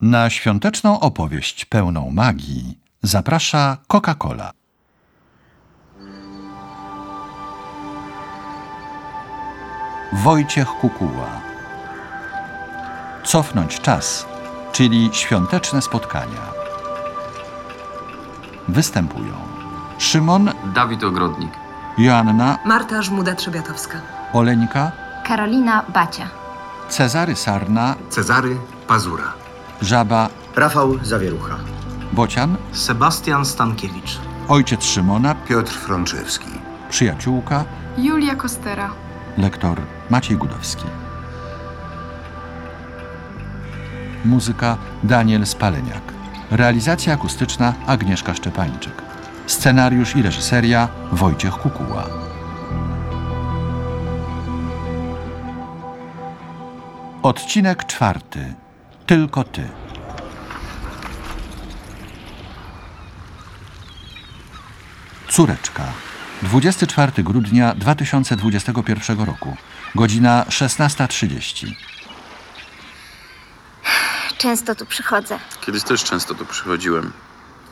Na świąteczną opowieść pełną magii zaprasza Coca-Cola. Wojciech Kukuła. Cofnąć czas, czyli świąteczne spotkania. Występują Szymon, Dawid Ogrodnik. Joanna, Marta Żmuda Trzebiatowska. Oleńka, Karolina Bacia. Cezary Sarna, Cezary Pazura. Żaba, Rafał Zawierucha. Bocian, Sebastian Stankiewicz. ojciec Szymona, Piotr Frączewski. przyjaciółka, Julia Kostera. Lektor Maciej Gudowski. Muzyka Daniel Spaleniak. Realizacja akustyczna Agnieszka Szczepańczyk. Scenariusz i reżyseria Wojciech Kukuła. Odcinek czwarty. Tylko ty. Córeczka. 24 grudnia 2021 roku. Godzina 16.30. Często tu przychodzę. Kiedyś też często tu przychodziłem.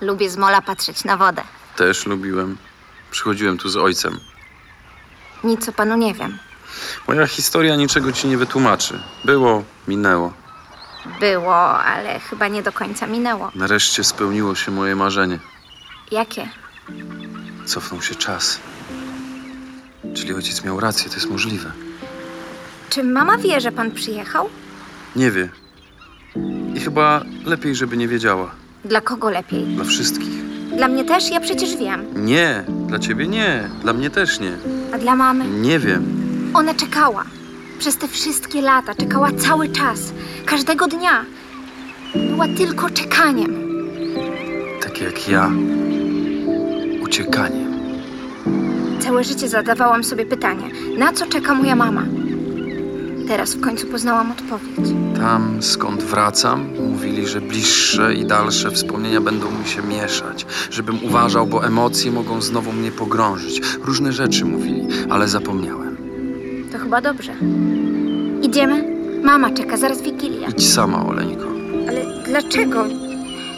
Lubię z mola patrzeć na wodę. Też lubiłem. Przychodziłem tu z ojcem. Nic o panu nie wiem. Moja historia niczego ci nie wytłumaczy. Było, minęło. Było, ale chyba nie do końca minęło. Nareszcie spełniło się moje marzenie. Jakie? Cofnął się czas. Czyli ojciec miał rację, to jest możliwe. Czy mama wie, że pan przyjechał? Nie wie. I chyba lepiej, żeby nie wiedziała. Dla kogo lepiej? Dla wszystkich. Dla mnie też? Ja przecież wiem. Nie, dla ciebie nie, dla mnie też nie. A dla mamy? Nie wiem. Ona czekała. Przez te wszystkie lata czekała cały czas. Każdego dnia. Była tylko czekaniem. Tak jak ja. Uciekanie. Całe życie zadawałam sobie pytanie, na co czeka moja mama? Teraz w końcu poznałam odpowiedź. Tam, skąd wracam, mówili, że bliższe i dalsze wspomnienia będą mi się mieszać, żebym uważał, bo emocje mogą znowu mnie pogrążyć. Różne rzeczy mówili, ale zapomniałem. To chyba dobrze. Idziemy? Mama czeka, zaraz Wigilia. Idź sama, Oleńko. Ale dlaczego?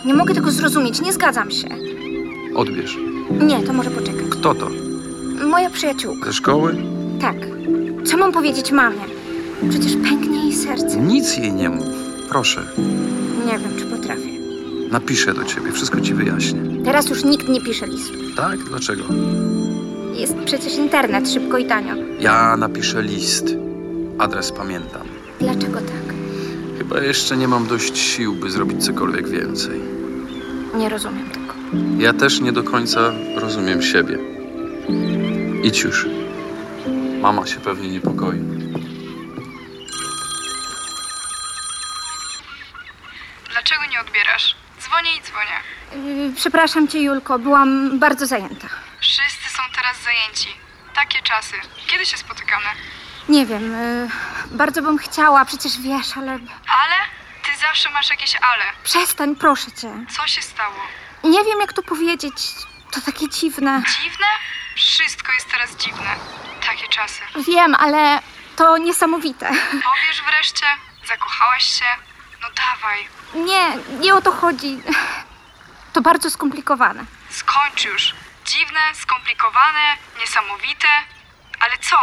Nie mogę tego zrozumieć, nie zgadzam się. Odbierz. Nie, to może poczekać. Kto to? Moja przyjaciółka. Ze szkoły? Tak. Co mam powiedzieć mamie? Przecież pęknie jej serce. Nic jej nie mów. Proszę, Nie wiem, czy potrafię. napiszę do ciebie, wszystko ci wyjaśnię. Teraz już nikt nie pisze listów. Tak? Dlaczego? Jest przecież internet, szybko i tanio. Ja napiszę list. Adres pamiętam. Dlaczego tak? Chyba jeszcze nie mam dość sił, by zrobić cokolwiek więcej. Nie rozumiem tego. Ja też nie do końca rozumiem siebie. Idź już. Mama się pewnie niepokoi. Dlaczego nie odbierasz? Dzwonię i dzwonię. Yy, przepraszam cię, Julko, byłam bardzo zajęta. Wszyscy są teraz zajęci. Takie czasy. Kiedy się spotykamy? Nie wiem, yy, bardzo bym chciała, przecież wiesz, ale Ale? Ty zawsze masz jakieś ale. przestań, proszę cię. Co się stało? Nie wiem, jak to powiedzieć. To takie dziwne. Dziwne? Wszystko jest teraz dziwne. Takie czasy. Wiem, ale to niesamowite. Powiesz wreszcie? Zakochałaś się? No dawaj. Nie, nie o to chodzi. To bardzo skomplikowane. Skończ już. Dziwne, skomplikowane, niesamowite. Ale co?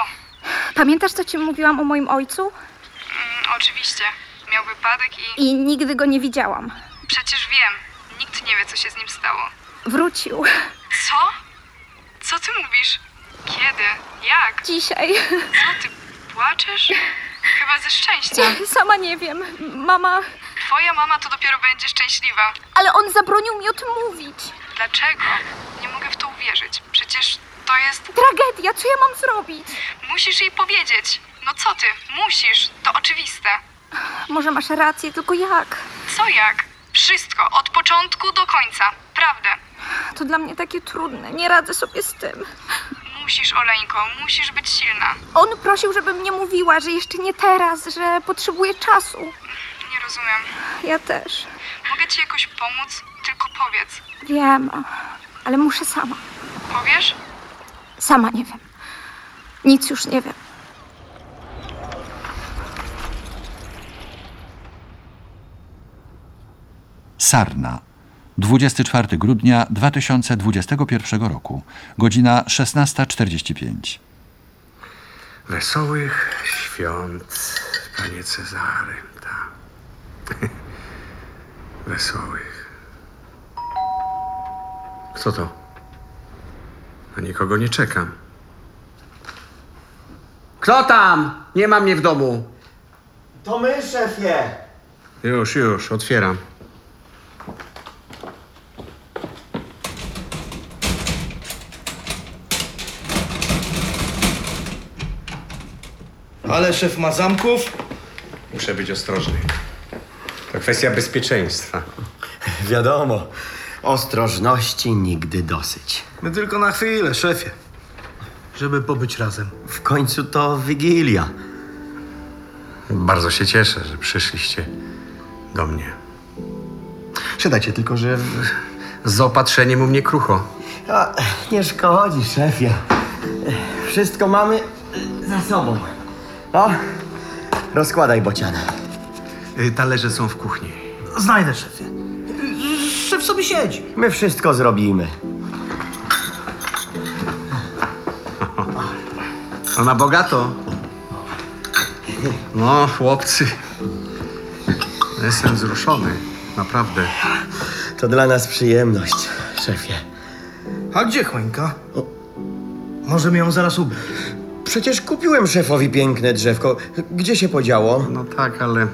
Pamiętasz, co ci mówiłam o moim ojcu? Mm, oczywiście. Miał wypadek i... I nigdy go nie widziałam. Przecież wiem. Nikt nie wie, co się z nim stało. Wrócił Co? Co ty mówisz? Kiedy? Jak? dzisiaj. Co ty płaczesz? Chyba ze szczęścia. Sama nie wiem. Mama, Twoja mama to dopiero będzie szczęśliwa. ale on zabronił mi o tym mówić. Dlaczego? Nie mogę w to uwierzyć. Przecież to jest. Tragedia, co ja mam zrobić? Musisz jej powiedzieć. No co ty? Musisz. To oczywiste. Może masz rację, tylko jak? Co jak? Wszystko, od początku do końca. Prawdę. To dla mnie takie trudne. Nie radzę sobie z tym. Musisz, Oleńko, musisz być silna. On prosił, żebym nie mówiła, że jeszcze nie teraz, że potrzebuję czasu. Nie rozumiem. Ja też. Mogę ci jakoś pomóc? Tylko powiedz. Wiem, ale muszę sama. Powiesz? Sama nie wiem. Nic już nie wiem. Sarna. 24 grudnia 2021 roku, godzina 16.45. Wesołych świąt, panie Cezary, tak. Wesołych. Co to? Na nikogo nie czekam. Kto tam? Nie ma mnie w domu. To my, szefie! Już, już, otwieram. Ale szef ma zamków? Muszę być ostrożny. To kwestia bezpieczeństwa. Wiadomo, ostrożności nigdy dosyć. My tylko na chwilę, szefie. Żeby pobyć razem. W końcu to Wigilia. Bardzo się cieszę, że przyszliście do mnie. Siadajcie, tylko że z opatrzeniem u mnie krucho. A, nie szkodzi, szefie. Wszystko mamy za sobą. O, rozkładaj bociana. Y, Talerze są w kuchni. Znajdę, szefie. Szef sobie siedzi. My wszystko zrobimy. Ona bogato. No, chłopcy. Jestem wzruszony. Naprawdę. To dla nas przyjemność, szefie. A gdzie chłonka? Możemy ją zaraz ubrać. Przecież kupiłem szefowi piękne drzewko. Gdzie się podziało? No tak, ale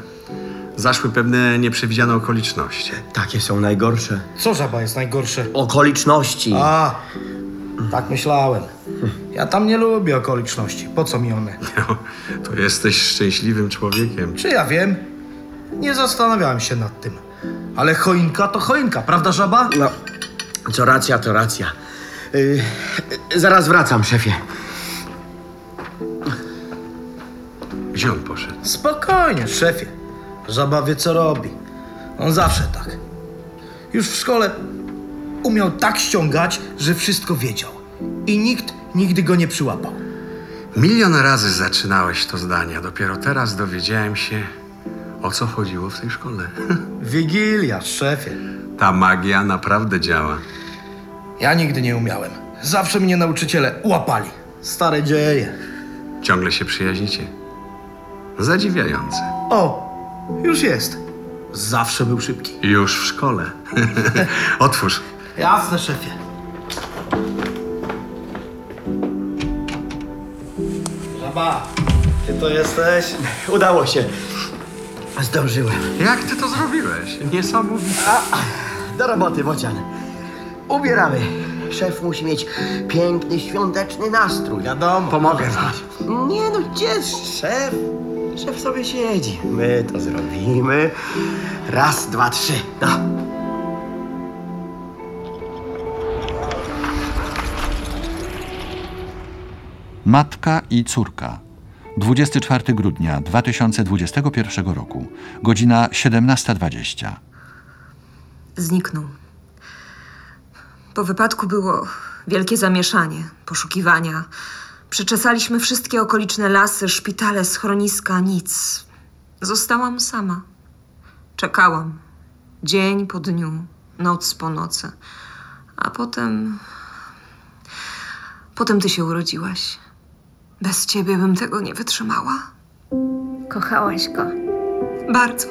zaszły pewne nieprzewidziane okoliczności. Takie są najgorsze. Co żaba jest najgorsze? Okoliczności. A, tak myślałem. Ja tam nie lubię okoliczności. Po co mi one? No, To jesteś szczęśliwym człowiekiem. Czy ja wiem? Nie zastanawiałem się nad tym. Ale choinka to choinka, prawda żaba? No, co racja, to racja. Y, zaraz wracam, szefie. Gdzie on poszedł? Spokojnie, szefie. Żaba wie, co robi. On zawsze tak. Już w szkole umiał tak ściągać, że wszystko wiedział. I nikt nigdy go nie przyłapał. Milion razy zaczynałeś to zdanie, a dopiero teraz dowiedziałem się, o co chodziło w tej szkole. Wigilia, szefie. Ta magia naprawdę działa. Ja nigdy nie umiałem. Zawsze mnie nauczyciele łapali. Stare dzieje. Ciągle się przyjaźnicie. Zadziwiające. O, już jest. Zawsze był szybki. Już w szkole. Otwórz. Jasne, szefie. Żaba, ty to jesteś? Udało się. Zdążyłem. Jak ty to zrobiłeś? Niesamowite. Do roboty, bocian. Ubieramy. Szef musi mieć piękny, świąteczny nastrój. Wiadomo. Pomogę wam. Nie no, gdzie szef? Szef sobie siedzi. My to zrobimy. Raz, dwa, trzy. No. Matka i córka. 24 grudnia 2021 roku, godzina 17.20. Zniknął. Po wypadku było wielkie zamieszanie, poszukiwania. Przeczesaliśmy wszystkie okoliczne lasy, szpitale, schroniska, nic. Zostałam sama. Czekałam. Dzień po dniu, noc po nocy. A potem. Potem ty się urodziłaś. Bez ciebie bym tego nie wytrzymała. Kochałaś go. Bardzo.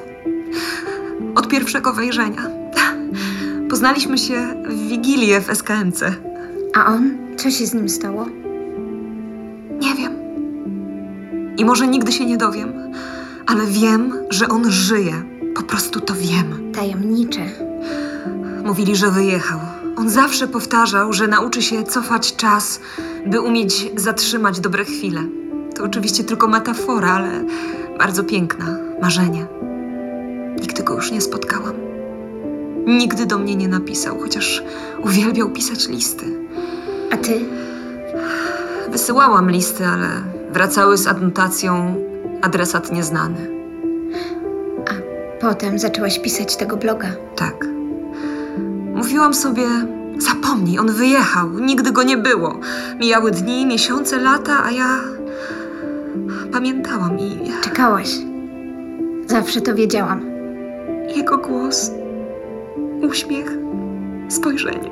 Od pierwszego wejrzenia. Poznaliśmy się w Wigilię w SKMC. A on? Co się z nim stało? Nie wiem. I może nigdy się nie dowiem, ale wiem, że on żyje. Po prostu to wiem. Tajemnicze. Mówili, że wyjechał. On zawsze powtarzał, że nauczy się cofać czas, by umieć zatrzymać dobre chwile. To oczywiście tylko metafora, ale bardzo piękna, marzenie. Nigdy go już nie spotkałam. Nigdy do mnie nie napisał, chociaż uwielbiał pisać listy. A ty? Wysyłałam listy, ale wracały z adnotacją adresat nieznany. Potem zaczęłaś pisać tego bloga. Tak. Mówiłam sobie, zapomnij, on wyjechał, nigdy go nie było. Mijały dni, miesiące, lata, a ja pamiętałam i Czekałaś. Zawsze to wiedziałam. jego głos. Uśmiech, spojrzenie,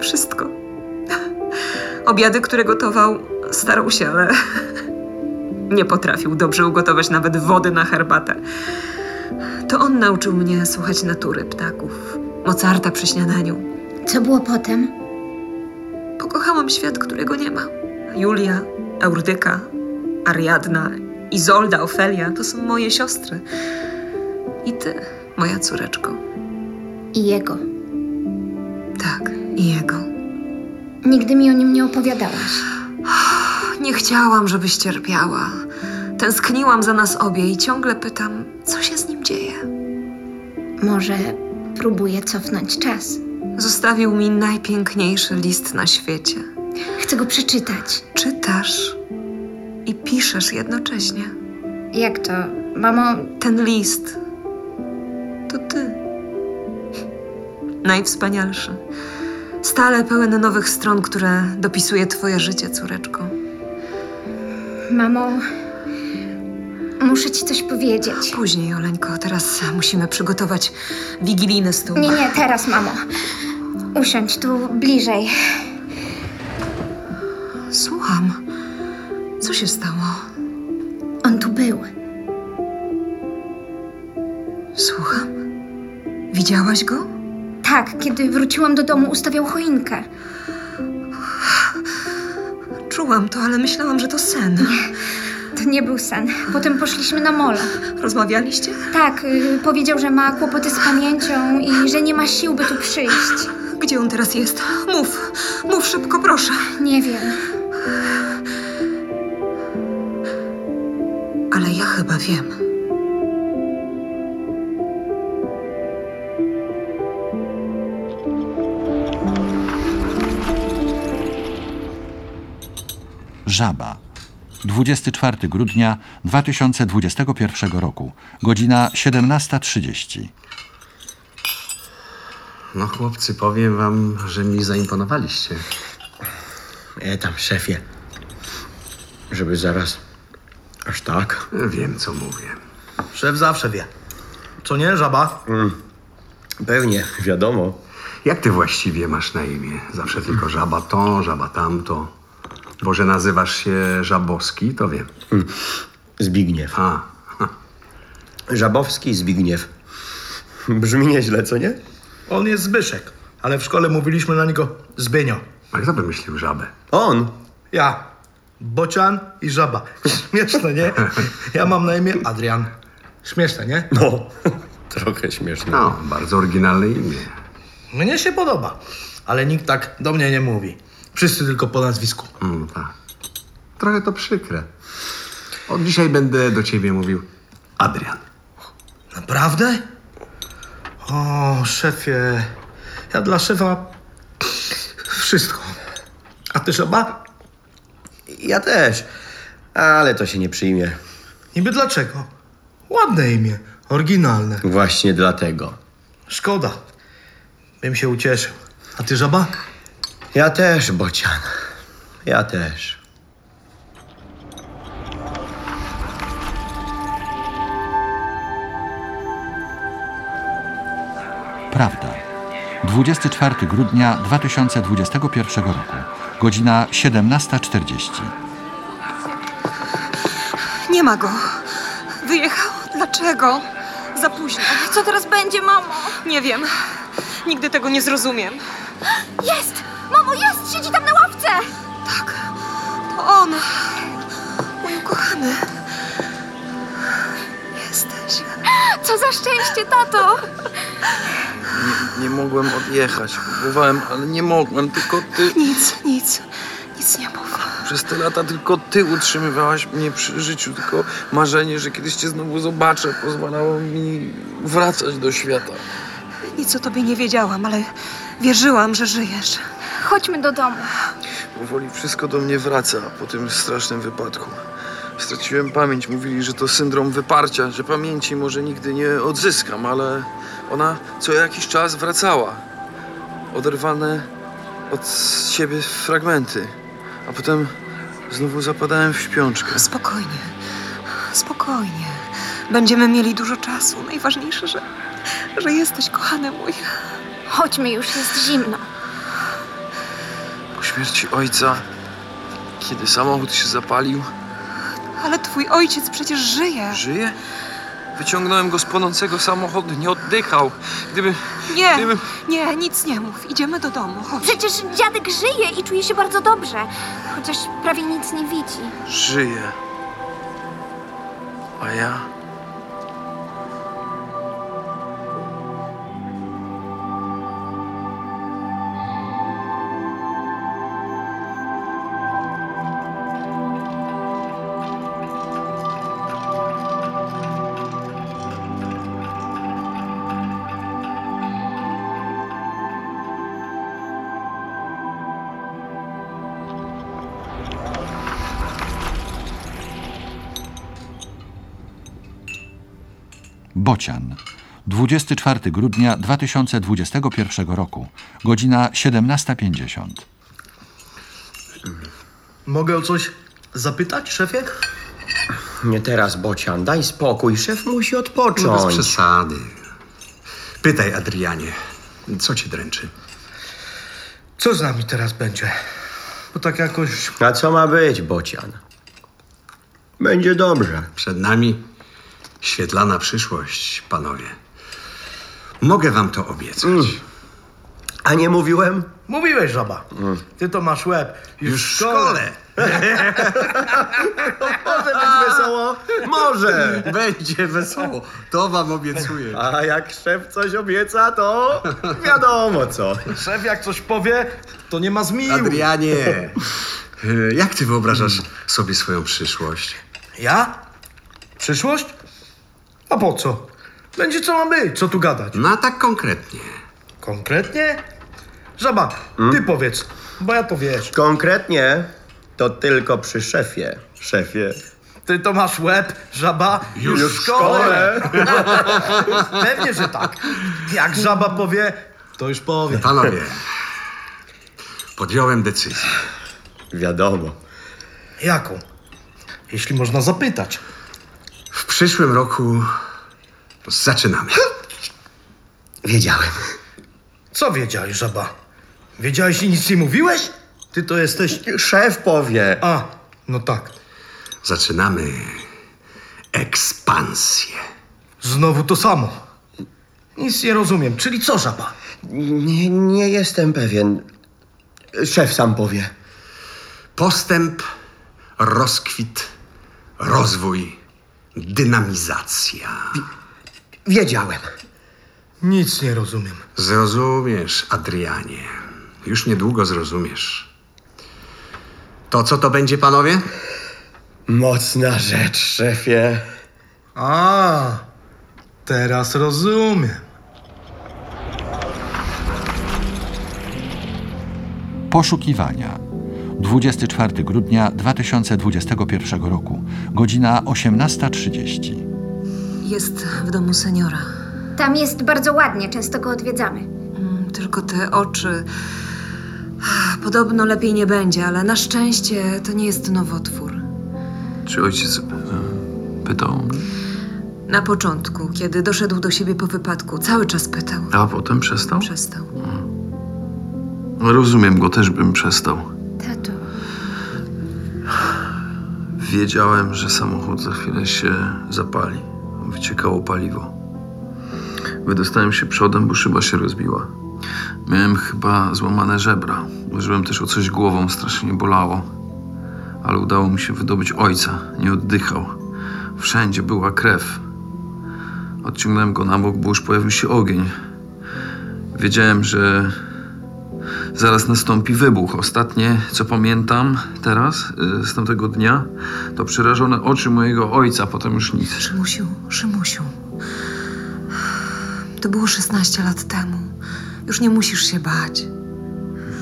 wszystko. Obiady, które gotował, starał się, ale nie potrafił dobrze ugotować nawet wody na herbatę. To on nauczył mnie słuchać natury ptaków, Mozarta przy śniadaniu. Co było potem? Pokochałam świat, którego nie ma. Julia, Eurydyka, Ariadna, Izolda, Ofelia to są moje siostry. I ty, moja córeczko. I jego. Tak, i jego. Nigdy mi o nim nie opowiadałaś. Nie chciałam, żebyś cierpiała. Tęskniłam za nas obie i ciągle pytam, co się z nim dzieje. Może próbuję cofnąć czas. Zostawił mi najpiękniejszy list na świecie. Chcę go przeczytać. Czytasz i piszesz jednocześnie. Jak to? Mamo, Ten list to ty. Najwspanialszy. Stale pełen nowych stron, które dopisuje twoje życie, córeczko. mamo, muszę ci coś powiedzieć. Później, Oleńko, teraz musimy przygotować wigilijny stół. Nie, nie, teraz, mamo. Usiądź tu bliżej. Słucham. Co się stało? On tu był. Słucham. Widziałaś go? Tak, kiedy wróciłam do domu, ustawiał choinkę. Czułam to, ale myślałam, że to sen. To nie był sen. Potem poszliśmy na molo. Rozmawialiście? Tak, y, powiedział, że ma kłopoty z pamięcią i że nie ma sił, by tu przyjść. Gdzie on teraz jest? Mów, mów szybko, proszę. Nie wiem. Ale ja chyba wiem. Żaba. 24 grudnia 2021 roku, godzina 17.30. No chłopcy, powiem wam, że mi zaimponowaliście. E tam, szefie. Żeby zaraz. Aż tak. Wiem, co mówię. Szef zawsze wie. Co nie, żaba? Pewnie, wiadomo. Jak ty właściwie masz na imię? Zawsze tylko żaba to, żaba tamto. Bo że nazywasz się Żabowski, to wiem. Zbigniew. A, Żabowski Zbigniew. Brzmi nieźle, co nie? On jest Zbyszek, ale w szkole mówiliśmy na niego Zbienio. a kto wymyślił żabę? On. Ja, Bocian i żaba. Śmieszne, nie? Ja mam na imię Adrian. Śmieszne, nie? No. Trochę śmieszne. No, bardzo oryginalne imię. Mnie się podoba, ale nikt tak do mnie nie mówi. Wszyscy tylko po nazwisku. Mm, tak. Trochę to przykre. Od dzisiaj będę do ciebie mówił Adrian. Naprawdę? O, szefie. Ja dla szefa wszystko. A ty żaba? Ja też. Ale to się nie przyjmie. Niby dlaczego? Ładne imię, oryginalne. Właśnie dlatego. Szkoda. Bym się ucieszył. A ty żaba? Ja też, Bocian. Ja też. Prawda. 24 grudnia 2021 roku, godzina 17.40. Nie ma go. Wyjechał. Dlaczego? Za późno. Co teraz będzie, mamo? Nie wiem. Nigdy tego nie zrozumiem. Jest! Mamo, jest! Siedzi tam na ławce! Tak, to on. Mój ukochany. Jesteś. Co za szczęście, tato! Nie, nie mogłem odjechać. Próbowałem, ale nie mogłem. Tylko ty. Nic, nic. Nic nie mów. Przez te lata tylko ty utrzymywałaś mnie przy życiu. Tylko marzenie, że kiedyś cię znowu zobaczę, pozwalało mi wracać do świata. Nic o tobie nie wiedziałam, ale wierzyłam, że żyjesz. Chodźmy do domu. Powoli wszystko do mnie wraca po tym strasznym wypadku. Straciłem pamięć, mówili, że to syndrom wyparcia, że pamięci może nigdy nie odzyskam, ale ona co jakiś czas wracała. Oderwane od siebie fragmenty, a potem znowu zapadałem w śpiączkę. Spokojnie. Spokojnie. Będziemy mieli dużo czasu. Najważniejsze, że że jesteś, kochany mój. Chodźmy już, jest zimno. Po śmierci ojca, kiedy samochód się zapalił, Ale twój ojciec przecież żyje. żyje? Wyciągnąłem go z płonącego samochodu, nie oddychał. Gdyby. Nie, Gdybym- nie, nic nie mów. Idziemy do domu, chodź. Przecież dziadek żyje i czuje się bardzo dobrze, chociaż prawie nic nie widzi. żyje. A ja. Bocian. 24 grudnia 2021 roku, godzina 17.50. Mogę o coś zapytać, szefie? Nie teraz, Bocian, daj spokój, szef musi No bez odpocząć. przesady. Pytaj, Adrianie, co cię dręczy? Co z nami teraz będzie? Bo tak jakoś A co ma być, Bocian? Będzie dobrze. Przed nami świetlana przyszłość, panowie. Mogę wam to obiecać. Mm, A nie mówiłem? mówiłeś, żaba. Ty to masz łeb. Już, No. Już w szkole Może być wesoło? Może! będzie wesoło. To wam obiecuję. A jak szef coś obieca, to wiadomo co. Szef jak coś powie, to nie ma zmiłu. Adrianie, y, jak ty wyobrażasz Mm. sobie swoją przyszłość? Ja? Przyszłość? A po co? Będzie co ma być, co tu gadać? No a tak konkretnie. Konkretnie? Żaba, ty powiedz, bo ja to wiesz. Konkretnie to tylko przy szefie. Szefie. Ty to masz łeb, żaba, już, w szkole. Pewnie, że tak. Jak żaba powie, to już powie. Panowie, podjąłem decyzję. Wiadomo. Jaką? Jeśli można zapytać. W przyszłym roku zaczynamy. Wiedziałem. Co wiedziałeś, żaba? Wiedziałeś i nic nie mówiłeś? Ty to jesteś... Szef powie. A, no tak. Zaczynamy ekspansję. Znowu to samo. Nic nie rozumiem. Czyli co, żaba? Nie, nie jestem pewien. Szef sam powie. Postęp, rozkwit, rozwój, dynamizacja. Wiedziałem. Nic nie rozumiem. Zrozumiesz, Adrianie. Już niedługo zrozumiesz. To co to będzie, panowie? Mocna rzecz, szefie. A, teraz rozumiem. Poszukiwania. 24 grudnia 2021 roku, godzina 18.30. Jest w domu seniora. Tam jest bardzo ładnie, często go odwiedzamy. Mm, Tylko te oczy. Podobno lepiej nie będzie, ale na szczęście to nie jest nowotwór. Czy ojciec e, pytał? Na początku, kiedy doszedł do siebie po wypadku, cały czas pytał. A potem przestał? Przestał. Rozumiem go, też bym przestał. Tato. Wiedziałem, że samochód za chwilę się zapali. Wyciekało paliwo. Wydostałem się przodem, bo szyba się rozbiła. Miałem chyba złamane żebra. Uderzyłem też o coś głową, strasznie bolało. Ale udało mi się wydobyć ojca. Nie oddychał. Wszędzie była krew. Odciągnąłem go na bok, bo już pojawił się ogień. Wiedziałem, że Zaraz nastąpi wybuch. Ostatnie, co pamiętam teraz, y, z tamtego dnia, to przerażone oczy mojego ojca, potem już nic. Szymusiu, Szymusiu. To było 16 lat temu. Już nie musisz się bać.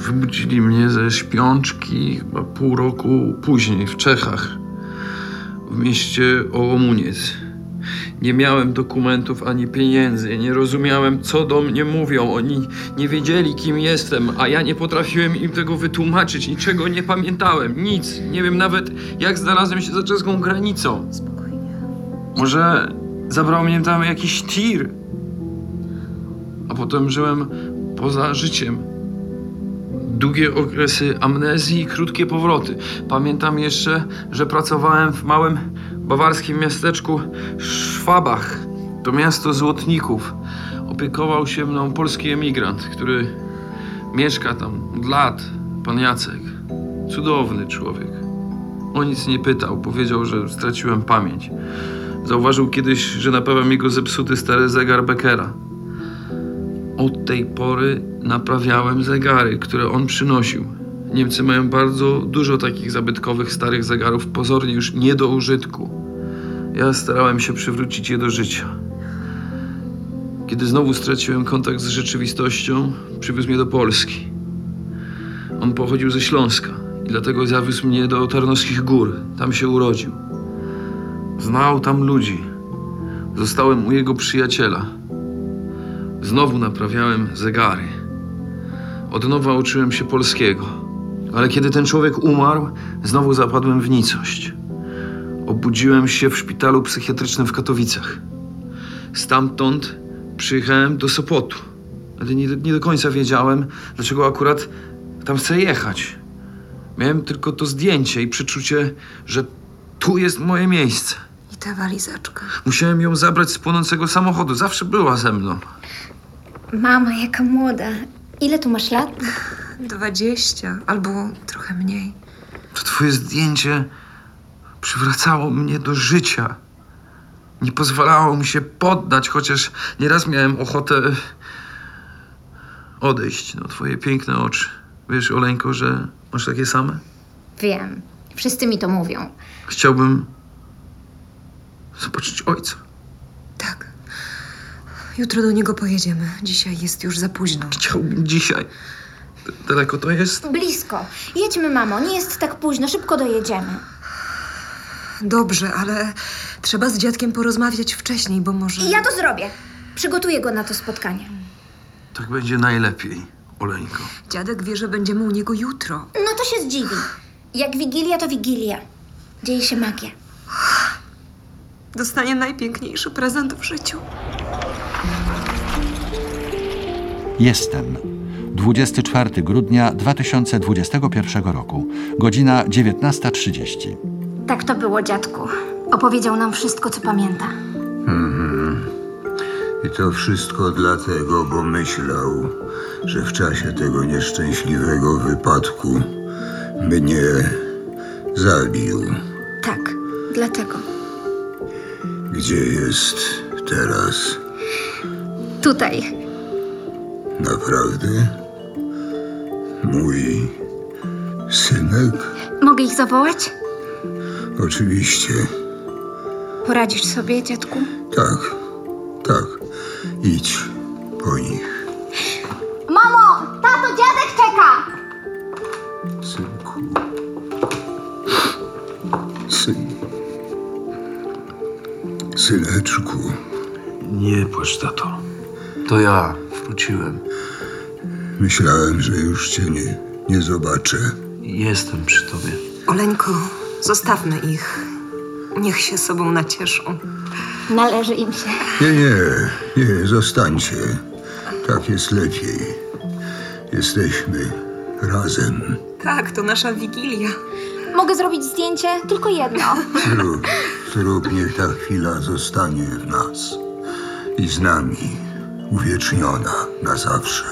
Wybudzili mnie ze śpiączki chyba pół roku później w Czechach, w mieście Ołomuniec. Nie miałem dokumentów ani pieniędzy, nie rozumiałem, co do mnie mówią. Oni nie wiedzieli, kim jestem, a ja nie potrafiłem im tego wytłumaczyć, niczego nie pamiętałem, nic. Nie wiem nawet, jak znalazłem się za czeską granicą. Spokojnie. Może zabrał mnie tam jakiś tir? potem żyłem poza życiem. Długie okresy amnezji i krótkie powroty. Pamiętam jeszcze, że pracowałem w małym bawarskim miasteczku Szwabach. To miasto złotników. Opiekował się mną polski emigrant, który mieszka tam od lat, pan Jacek. Cudowny człowiek. O nic nie pytał, powiedział, że straciłem pamięć. Zauważył kiedyś, że naprawiam jego zepsuty stary zegar Beckera. Od tej pory naprawiałem zegary, które on przynosił. Niemcy mają bardzo dużo takich zabytkowych starych zegarów, pozornie już nie do użytku. Ja starałem się przywrócić je do życia. Kiedy znowu straciłem kontakt z rzeczywistością, przywiózł mnie do Polski. On pochodził ze Śląska i dlatego zawiózł mnie do Tarnowskich Gór. Tam się urodził. Znał tam ludzi. Zostałem u jego przyjaciela. Znowu naprawiałem zegary. Od nowa uczyłem się polskiego. Ale kiedy ten człowiek umarł, znowu zapadłem w nicość. Obudziłem się w szpitalu psychiatrycznym w Katowicach. Stamtąd przyjechałem do Sopotu. Ale nie, nie do końca wiedziałem, dlaczego akurat tam chcę jechać. Miałem tylko to zdjęcie i przeczucie, że tu jest moje miejsce. I ta walizaczka. Musiałem ją zabrać z płonącego samochodu. Zawsze była ze mną. Mama, jaka młoda. Ile tu masz lat? 20 albo trochę mniej. To twoje zdjęcie przywracało mnie do życia. Nie pozwalało mi się poddać, chociaż nieraz miałem ochotę odejść. No, twoje piękne oczy. Wiesz, Oleńko, że masz takie same? Wiem. Wszyscy mi to mówią. Chciałbym zobaczyć ojca. Tak. Jutro do niego pojedziemy. Dzisiaj jest już za późno. Chciałbym dzisiaj. D- daleko to jest? Blisko. Jedźmy, mamo. Nie jest tak późno. Szybko dojedziemy. Dobrze, ale trzeba z dziadkiem porozmawiać wcześniej, bo może. I ja to No zrobię. Przygotuję go na to spotkanie. Tak będzie najlepiej, Oleńko. Dziadek wie, że będziemy u niego jutro. No to się zdziwi. Jak wigilia, to wigilia. Dzieje się magia. Dostanie najpiękniejszy prezent w życiu. Jestem. 24 grudnia 2021 roku, godzina 19.30. Tak to było, dziadku. Opowiedział nam wszystko, co pamięta. I to wszystko dlatego, bo myślał, że w czasie tego nieszczęśliwego wypadku mnie zabił. Tak, dlatego. Gdzie jest teraz? Tutaj. Naprawdę? Mój synek? Mogę ich zawołać? Oczywiście. Poradzisz sobie, dziadku? Tak, tak. Idź po nich. Mamo! Tato, dziadek czeka! Synku. Syn. Syneczku. Nie płacz, tato. To ja wróciłem. Myślałem, że już cię nie, nie zobaczę. Jestem przy tobie. Oleńko, zostawmy ich. Niech się sobą nacieszą. Należy im się. Nie, nie, nie, zostańcie. Tak jest lepiej. Jesteśmy razem. Tak, to nasza wigilia. Mogę zrobić zdjęcie? Tylko jedno. Zrób, zrób, niech ta chwila zostanie w nas i z nami, uwieczniona na zawsze.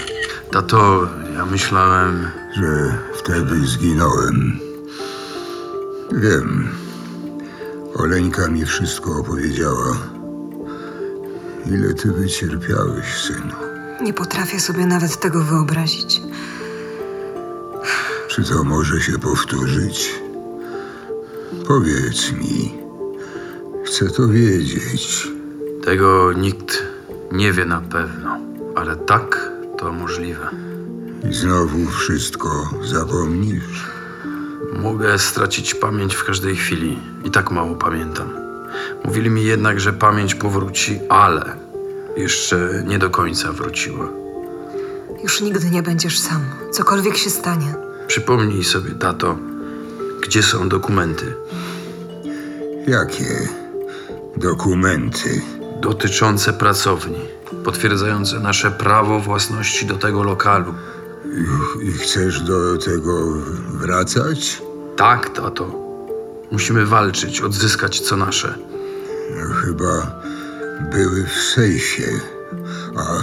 Tato, ja myślałem. Że wtedy zginąłem. Wiem. Oleńka mi wszystko opowiedziała. Ile ty wycierpiałeś, synu? Nie potrafię sobie nawet tego wyobrazić. Czy to może się powtórzyć? Powiedz mi. Chcę to wiedzieć. Tego nikt nie wie na pewno, ale tak to możliwe. I znowu wszystko zapomnisz? Mogę stracić pamięć w każdej chwili i tak mało pamiętam. Mówili mi jednak, że pamięć powróci, ale jeszcze nie do końca wróciła. Już nigdy nie będziesz sam, cokolwiek się stanie. Przypomnij sobie, tato, gdzie są dokumenty. Jakie dokumenty? dotyczące pracowni, potwierdzające nasze prawo własności do tego lokalu. I, i chcesz do tego wracać? Tak, tato. Musimy walczyć, odzyskać co nasze. No, Chyba były w sejfie, a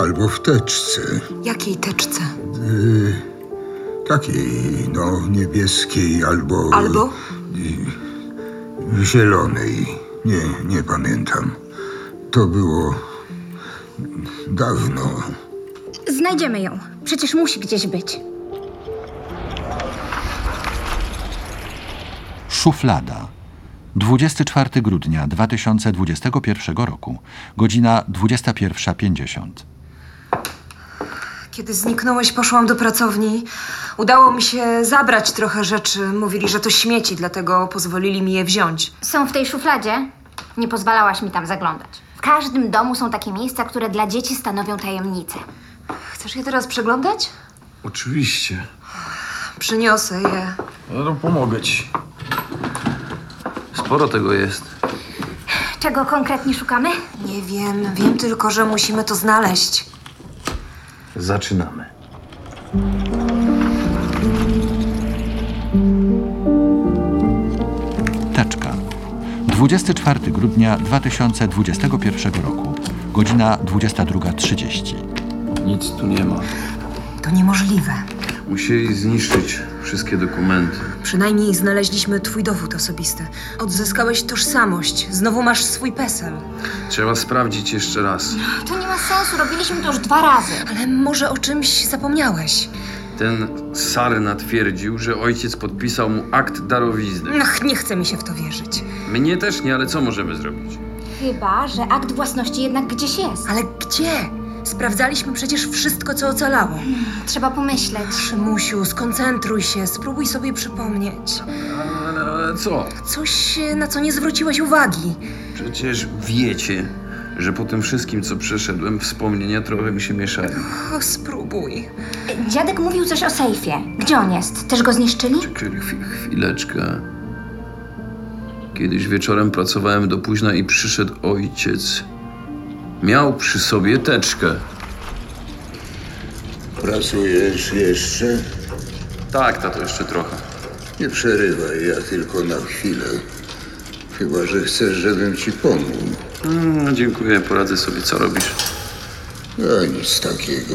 albo w teczce. Jakiej teczce? Takiej, no, niebieskiej albo. Albo? Zielonej. Nie, nie pamiętam. To było dawno. Znajdziemy ją. Przecież musi gdzieś być. Szuflada. 24 grudnia 2021 roku, godzina 21.50. Kiedy zniknąłeś, poszłam do pracowni. Udało mi się zabrać trochę rzeczy. Mówili, że to śmieci, dlatego pozwolili mi je wziąć. Są w tej szufladzie? Nie pozwalałaś mi tam zaglądać. W każdym domu są takie miejsca, które dla dzieci stanowią tajemnicę. Chcesz je teraz przeglądać? Oczywiście. Przyniosę je. No, pomogę ci. Sporo tego jest. Czego konkretnie szukamy? Nie wiem, wiem tylko, że musimy to znaleźć. Zaczynamy. Teczka. 24 grudnia 2021 roku, godzina 22.30. Nic tu nie ma. To niemożliwe. Musieli zniszczyć wszystkie dokumenty. Przynajmniej znaleźliśmy twój dowód osobisty. Odzyskałeś tożsamość. Znowu masz swój PESEL. Trzeba sprawdzić jeszcze raz. To nie ma sensu, robiliśmy to już dwa razy. Ale może o czymś zapomniałeś. Ten Sarna twierdził, że ojciec podpisał mu akt darowizny. Ach, nie chce mi się w to wierzyć. Mnie też nie, ale co możemy zrobić? Chyba, że akt własności jednak gdzieś jest. Ale gdzie? Sprawdzaliśmy przecież wszystko, co ocalało. Trzeba pomyśleć. Przymusiu, skoncentruj się, spróbuj sobie przypomnieć. Ale, ale co? Coś, e, na co nie zwróciłeś uwagi. Przecież wiecie, że po tym wszystkim, co przeszedłem, wspomnienia trochę mi się mieszają. O, spróbuj. Dziadek mówił coś o sejfie. Gdzie on jest? Też go zniszczyli? Czekaj chwi- chwileczkę. Kiedyś wieczorem pracowałem do późna i przyszedł ojciec. Miał przy sobie teczkę. Pracujesz jeszcze? Tak, tato, jeszcze trochę. Nie przerywaj, ja tylko na chwilę. Chyba, że chcesz, żebym ci pomógł. Mm, dziękuję, poradzę sobie, co robisz. A No, nic takiego.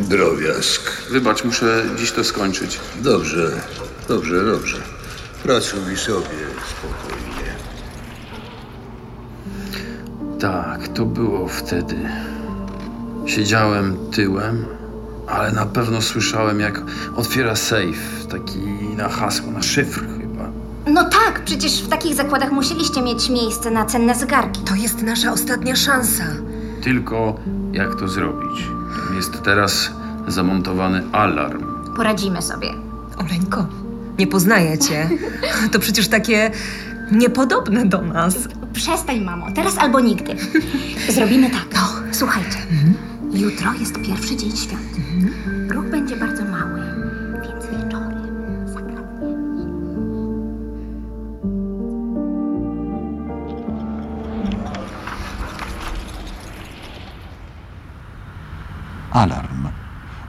Drobiazg. Wybacz, muszę dziś to skończyć. Dobrze, dobrze, dobrze. Pracuj sobie spokojnie. Tak, to było wtedy. Siedziałem tyłem, ale na pewno słyszałem, jak otwiera sejf. Taki na hasło, na szyfr chyba. No tak, przecież w takich zakładach musieliście mieć miejsce na cenne zegarki. To jest nasza ostatnia szansa. Tylko jak to zrobić? Tam Jest teraz zamontowany alarm. Poradzimy sobie. Oleńko, nie poznaję cię. To przecież takie niepodobne do nas. Przestań, mamo, teraz albo nigdy. Zrobimy tak. No, słuchajcie. Jutro jest pierwszy dzień świąt. Ruch będzie bardzo mały, więc wieczorem zakradniemy. Alarm.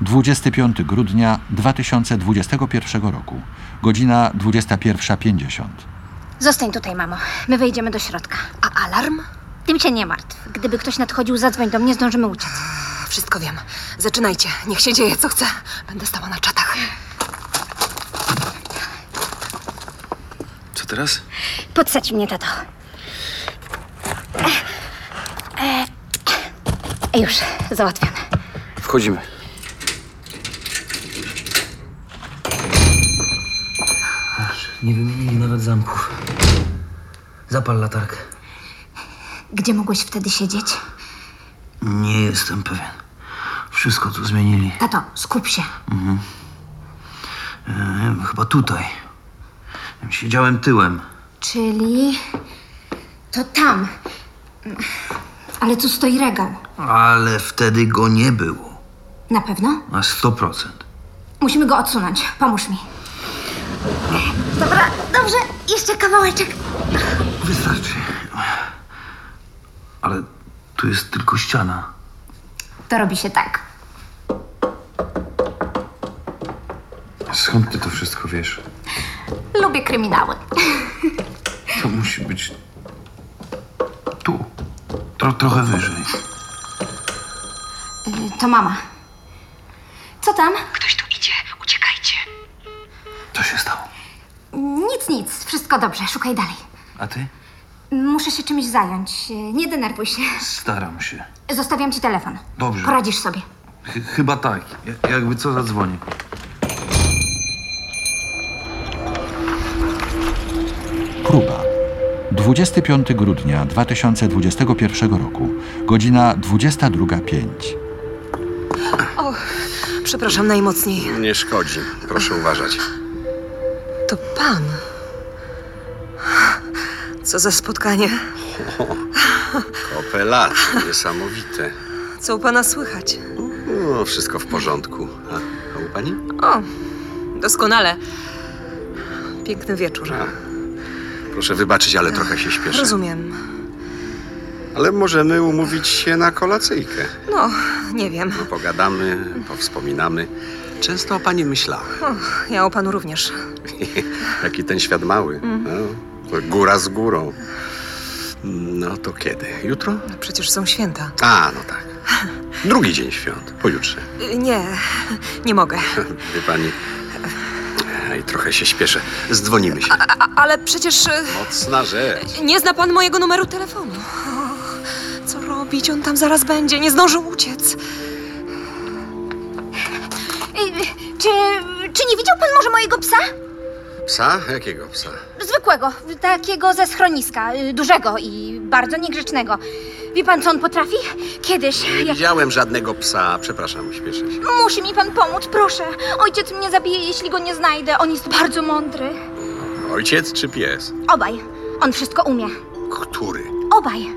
25 grudnia 2021 roku, godzina 21.50. Zostań tutaj, mamo. My wejdziemy do środka. A alarm? Tym się nie martw. Gdyby ktoś nadchodził, zadzwoń do mnie, zdążymy uciec. Wszystko wiem. Zaczynajcie. Niech się dzieje, co chce. Będę stała na czatach. Co teraz? Podsadź mnie, tato. E, e, już, załatwione. Wchodzimy. Nie wymienili nawet zamków. Zapal latarkę. Gdzie mogłeś wtedy siedzieć? Nie jestem pewien. Wszystko tu zmienili. Tato, skup się. No Em, Chyba tutaj. Em, Siedziałem tyłem. Czyli. To tam. Ale tu stoi regał. Ale wtedy go nie było. Na pewno? Na 100%. Musimy go odsunąć. Pomóż mi. Dobra, dobrze, jeszcze kawałeczek. Wystarczy. Ale tu jest tylko ściana. To robi się tak. Skąd ty to wszystko wiesz? Lubię kryminały. To musi być tu. Tro, trochę wyżej. Y, To mama. Co tam? Ktoś tu idzie, uciekajcie. Co się stało? Nic, nic. Wszystko dobrze. Szukaj dalej. A ty? Muszę się czymś zająć. Y, Nie denerwuj się. Staram się. Zostawiam ci telefon. Dobrze. Poradzisz sobie. Chy- chyba tak. Ja- jakby co zadzwonię. Próba. 25 grudnia 2021 roku, godzina 22.05. Przepraszam najmocniej. Nie szkodzi. Proszę uważać. To pan. Co za spotkanie. Kopę lat. Niesamowite. Co u pana słychać? No, wszystko w porządku. A, a u pani? O, doskonale. Piękny wieczór. A, proszę wybaczyć, ale trochę się śpieszę. Rozumiem. Ale możemy umówić się na kolacyjkę. No, nie wiem. No, pogadamy, powspominamy. Często o pani myślałem. O, ja o panu również. Jaki ten świat mały. No, to góra z górą. No to kiedy? Jutro? No, Przecież są święta. A, no tak. Drugi dzień świąt. Pojutrze. Y, Nie, nie mogę. Wie pani. Ej, trochę się śpieszę. Zdzwonimy się. A, ale przecież y, Mocna rzecz. nie zna pan mojego numeru telefonu. Och, co robić? On tam zaraz będzie. Nie zdążył uciec. Y, y, Czy, czy nie widział pan może mojego psa? Psa? Jakiego psa? Zwykłego, takiego ze schroniska, y, dużego i bardzo niegrzecznego. Wie pan, co on potrafi? Kiedyś, Nie jak widziałem żadnego psa. Przepraszam, śpieszę się. Musi mi pan pomóc, proszę. Ojciec mnie zabije, jeśli go nie znajdę. On jest bardzo mądry. Ojciec czy pies? Obaj. On wszystko umie. Który? Obaj.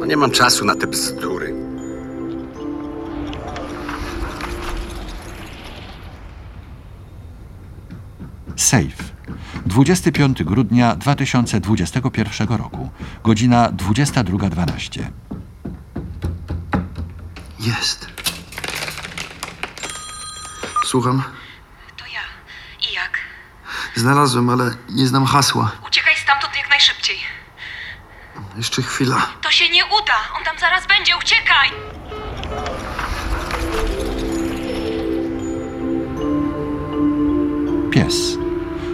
No nie mam czasu na te bzdury. Safe. 25 grudnia 2021 roku, godzina 22.12. Jest. Słucham. To ja. I jak? Znalazłem, ale nie znam hasła. Uciekaj stamtąd jak najszybciej. Jeszcze chwila. To się nie uda. On tam zaraz będzie. Uciekaj! Pies.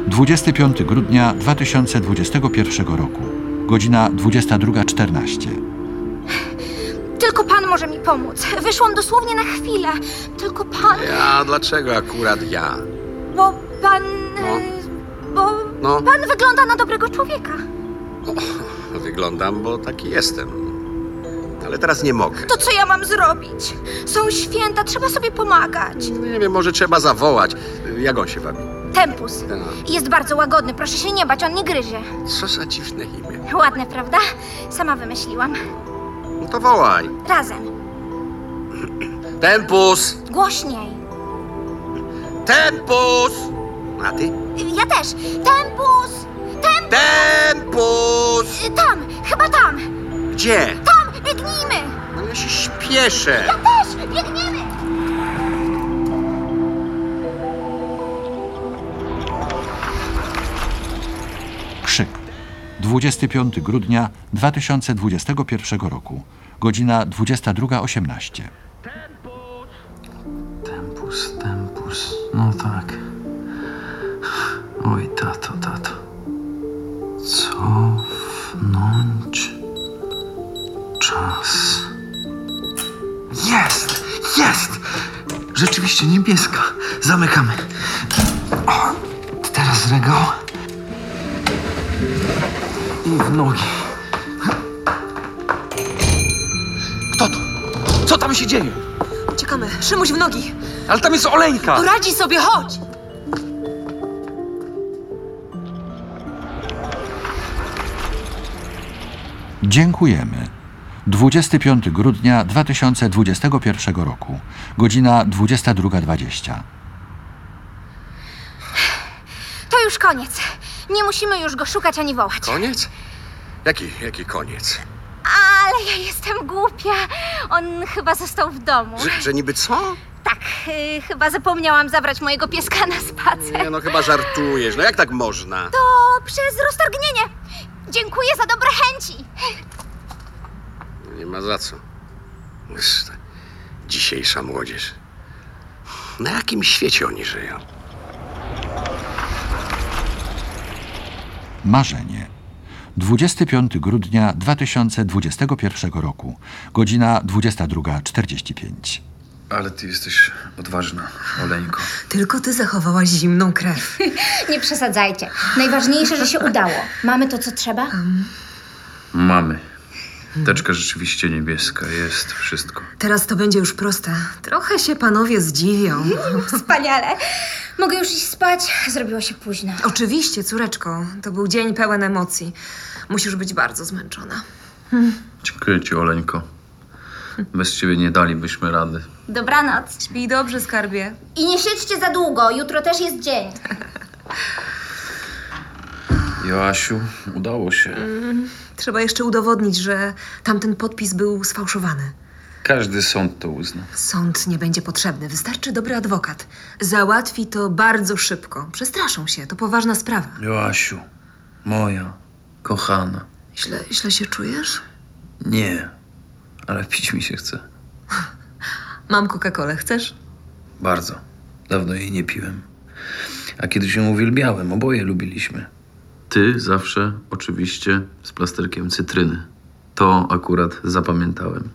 25 grudnia 2021 roku, godzina 22.14. Tylko pan może mi pomóc. Wyszłam dosłownie na chwilę. Tylko pan, Ja, dlaczego akurat ja? bo pan. No. e, Bo No. pan wygląda na dobrego człowieka. O, wyglądam, bo taki jestem. Ale teraz nie mogę. To co ja mam zrobić? Są święta, trzeba sobie pomagać. No Nie wiem, może trzeba zawołać. Jak on się wabi? Tempus. Ten, Jest bardzo łagodny, proszę się nie bać, on nie gryzie. Co za dziwne imię. Ładne, prawda? Sama wymyśliłam. No to wołaj. Razem. Tempus! Głośniej. Tempus! A ty? Ja też. Tempus! Tempus! Tempus! Tam! Chyba tam! Gdzie? Tam! Biegnijmy! No ja się śpieszę. Też! Biegniemy! Krzyk. 25 grudnia 2021 roku, godzina 22.18. Tempus, tempus. No tak. Oj, tato, tato. Cofnąć czas. Jest! Jest! Rzeczywiście niebieska. Zamykamy. O, teraz regał. I w nogi. Kto to? Co tam się dzieje? Uciekamy. Szymuś w nogi. Ale tam jest Oleńka! Poradzi sobie, chodź! Dziękujemy. 25 grudnia 2021 roku, godzina 22.20. To już koniec. Nie musimy już go szukać ani wołać. Koniec? Jaki, jaki koniec? Ale ja jestem głupia. On chyba został w domu. Że, że niby co? Tak, y, chyba zapomniałam zabrać mojego pieska na spacer. Nie no, chyba żartujesz. No jak tak można? To przez roztargnienie. Dziękuję za dobre chęci. Nie ma za co. Wiesz, ta Dzisiejsza młodzież. Na jakim świecie oni żyją? Marzenie. 25 grudnia 2021 roku, godzina 22.45. Ale ty jesteś odważna, Oleńko. Tylko ty zachowałaś zimną krew. Nie przesadzajcie. Najważniejsze, że się udało. Mamy to, co trzeba? Mamy. Teczka rzeczywiście niebieska, jest wszystko. Teraz to będzie już proste. Trochę się panowie zdziwią. Wspaniale. Mogę już iść spać. Zrobiło się późno. Oczywiście, córeczko, to był dzień pełen emocji. Musisz być bardzo zmęczona. Dziękuję ci, Oleńko. Bez ciebie nie dalibyśmy rady. Dobranoc. Śpij dobrze, skarbie. I nie siedźcie za długo. Jutro też jest dzień. Joasiu, udało się. Trzeba jeszcze udowodnić, że tamten podpis był sfałszowany. Każdy sąd to uzna. Sąd nie będzie potrzebny, wystarczy dobry adwokat. Załatwi to bardzo szybko. Przestraszą się, to poważna sprawa. Joasiu, moja, kochana. Źle, źle się czujesz? Nie, ale pić mi się chce. Mam Coca-Colę, chcesz? Bardzo. Dawno jej nie piłem. A kiedyś ją uwielbiałem, oboje lubiliśmy. Ty zawsze, oczywiście, z plasterkiem cytryny. To akurat zapamiętałem.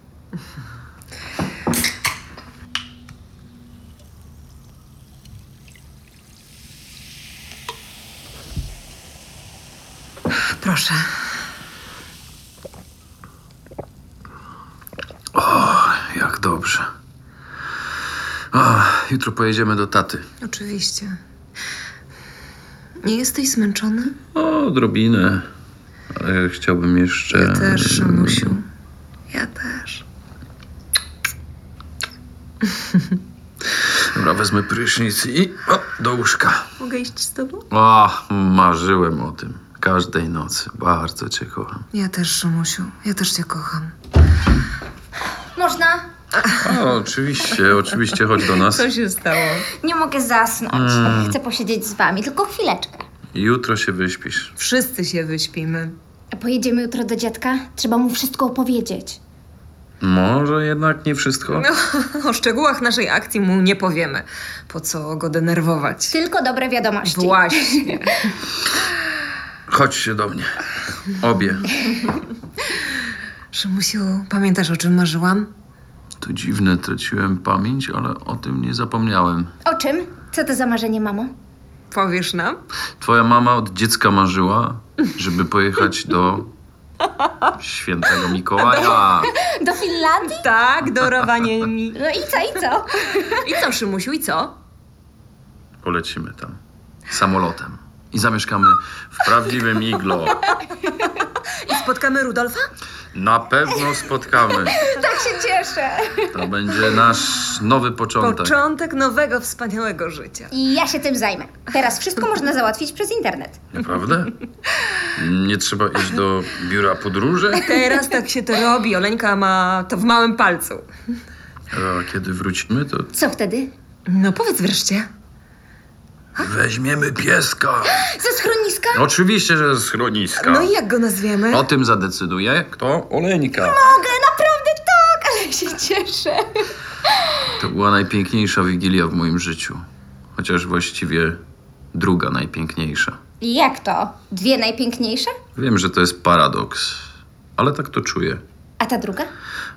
Proszę. Jak dobrze. Ach, jutro pojedziemy do taty. Oczywiście. Nie jesteś zmęczony? O, odrobinę. Ale chciałbym jeszcze. Ja też, Szymusiu. Ja też. Dobra, wezmę prysznic i o, do łóżka. Mogę iść z tobą? O, marzyłem o tym. Każdej nocy. Bardzo cię kocham. Ja też, Szymusiu. Ja też cię kocham. Można? O, oczywiście, oczywiście, chodź do nas. się stało? Nie mogę zasnąć. Chcę posiedzieć z wami. Tylko chwileczkę. Jutro się wyśpisz. Wszyscy się wyśpimy. A Pojedziemy jutro do dziadka? Trzeba mu wszystko opowiedzieć. Może jednak nie wszystko? No, O szczegółach naszej akcji mu nie powiemy. Po co go denerwować? Tylko dobre wiadomości. Właśnie. Chodźcie do mnie. Obie. Szymusiu, pamiętasz o czym marzyłam? To dziwne, traciłem pamięć, ale o tym nie zapomniałem. O czym? Co to za marzenie, mamo? Powiesz nam? Twoja mama od dziecka marzyła, żeby pojechać do świętego Mikołaja. Do Finlandii? Tak, do Rawaniemi. No i co, i co? I co, Szymusiu, i co? Polecimy tam samolotem i zamieszkamy w prawdziwym iglo. I spotkamy Rudolfa? Na pewno spotkamy. Tak się cieszę. To będzie nasz nowy początek. Początek nowego, wspaniałego życia. I ja się tym zajmę. Teraz wszystko można załatwić przez internet. Naprawdę? Nie trzeba iść do biura podróży? Teraz tak się to robi. Oleńka ma to w małym palcu. A kiedy wrócimy, to Co wtedy? No powiedz wreszcie. weźmiemy pieska. Ze schroniska? Oczywiście, że z schroniska. No i jak go nazwiemy? O tym zadecyduje kto? Oleńka. Mogę, naprawdę tak, ale się cieszę. To była najpiękniejsza wigilia w moim życiu. Chociaż właściwie druga najpiękniejsza. Jak to? Dwie najpiękniejsze? Wiem, że to jest paradoks, ale tak to czuję. A ta druga?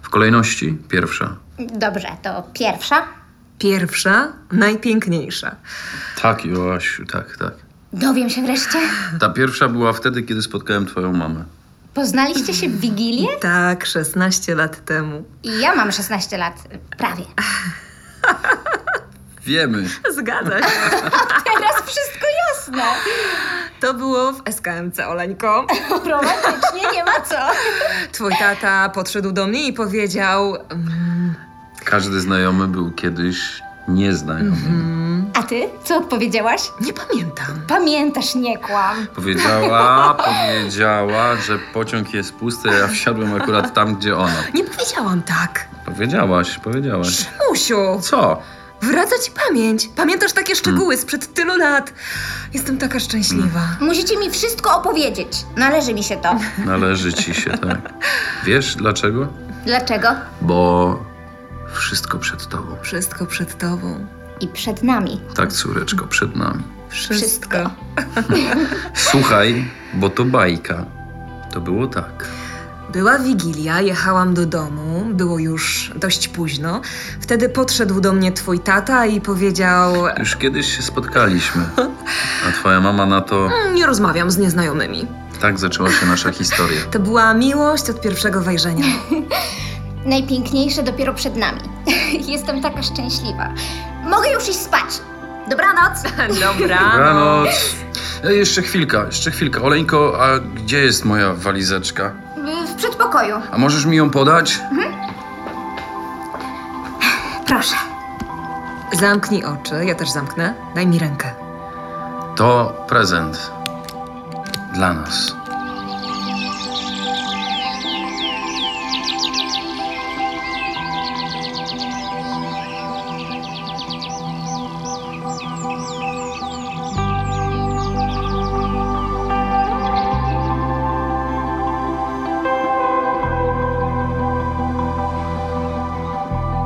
W kolejności pierwsza. Dobrze, to pierwsza. Pierwsza, najpiękniejsza. Tak, Joasiu, tak, tak. Dowiem się wreszcie. Ta pierwsza była wtedy, kiedy spotkałem twoją mamę. Poznaliście się w Wigilię? Tak, 16 lat temu. I ja mam 16 lat. Prawie. Wiemy. Zgadza się. Teraz wszystko jasne. To było w SKMC, Oleńko. Romantycznie nie ma co. Twój tata podszedł do mnie i powiedział... Każdy znajomy był kiedyś nieznajomym. A ty? Co odpowiedziałaś? Nie pamiętam. Pamiętasz, nie kłam. Powiedziała, powiedziała, że pociąg jest pusty, a ja wsiadłem akurat tam, gdzie ona. Nie powiedziałam tak. Powiedziałaś, powiedziałaś. Musiu! Co? Wraca ci pamięć. Pamiętasz takie szczegóły sprzed tylu lat. Jestem taka szczęśliwa. Musicie mi wszystko opowiedzieć. Należy mi się to. Należy ci się, tak. Wiesz dlaczego? Dlaczego? Bo wszystko przed tobą. Wszystko przed tobą. I przed nami. Tak, córeczko, przed nami. Wszystko. Słuchaj, bo to bajka. To było tak. Była wigilia, jechałam do domu, było już dość późno. Wtedy podszedł do mnie twój tata i powiedział: Już kiedyś się spotkaliśmy, a twoja mama na to... "Mm, Nie rozmawiam z nieznajomymi. Tak zaczęła się nasza historia. To była miłość od pierwszego wejrzenia. Najpiękniejsze dopiero przed nami. Jestem taka szczęśliwa. Mogę już iść spać. Dobranoc. no. Dobranoc. E, Jeszcze chwilka, jeszcze chwilka. Oleńko, a gdzie jest moja walizeczka? Y, W przedpokoju. A możesz mi ją podać? Proszę. Zamknij oczy, ja też zamknę. Daj mi rękę. To prezent dla nas.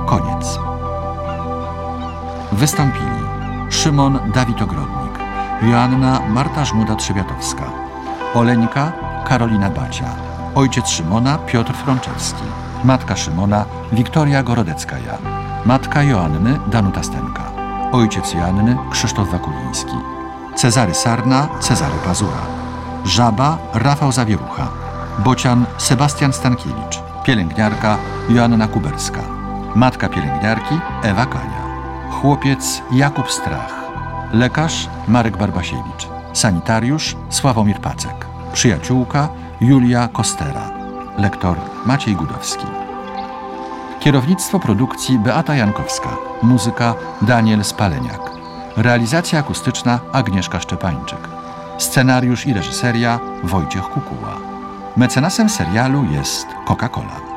Koniec. Wystąpili Szymon Dawid Ogrodnik, Joanna Marta Żmuda-Trzebiatowska, Oleńka Karolina Bacia, ojciec Szymona Piotr Frączewski, matka Szymona Wiktoria Gorodecka-Ja, matka Joanny Danuta Stenka, ojciec Joanny Krzysztof Wakuliński, Cezary Sarna Cezary Pazura, Żaba Rafał Zawierucha, Bocian Sebastian Stankiewicz, pielęgniarka Joanna Kuberska, matka pielęgniarki Ewa Kania, chłopiec Jakub Strach, lekarz Marek Barbasiewicz, sanitariusz Sławomir Pacek, przyjaciółka Julia Kostera, lektor Maciej Gudowski. Kierownictwo produkcji Beata Jankowska, muzyka Daniel Spaleniak, realizacja akustyczna Agnieszka Szczepańczyk, scenariusz i reżyseria Wojciech Kukuła. Mecenasem serialu jest Coca-Cola.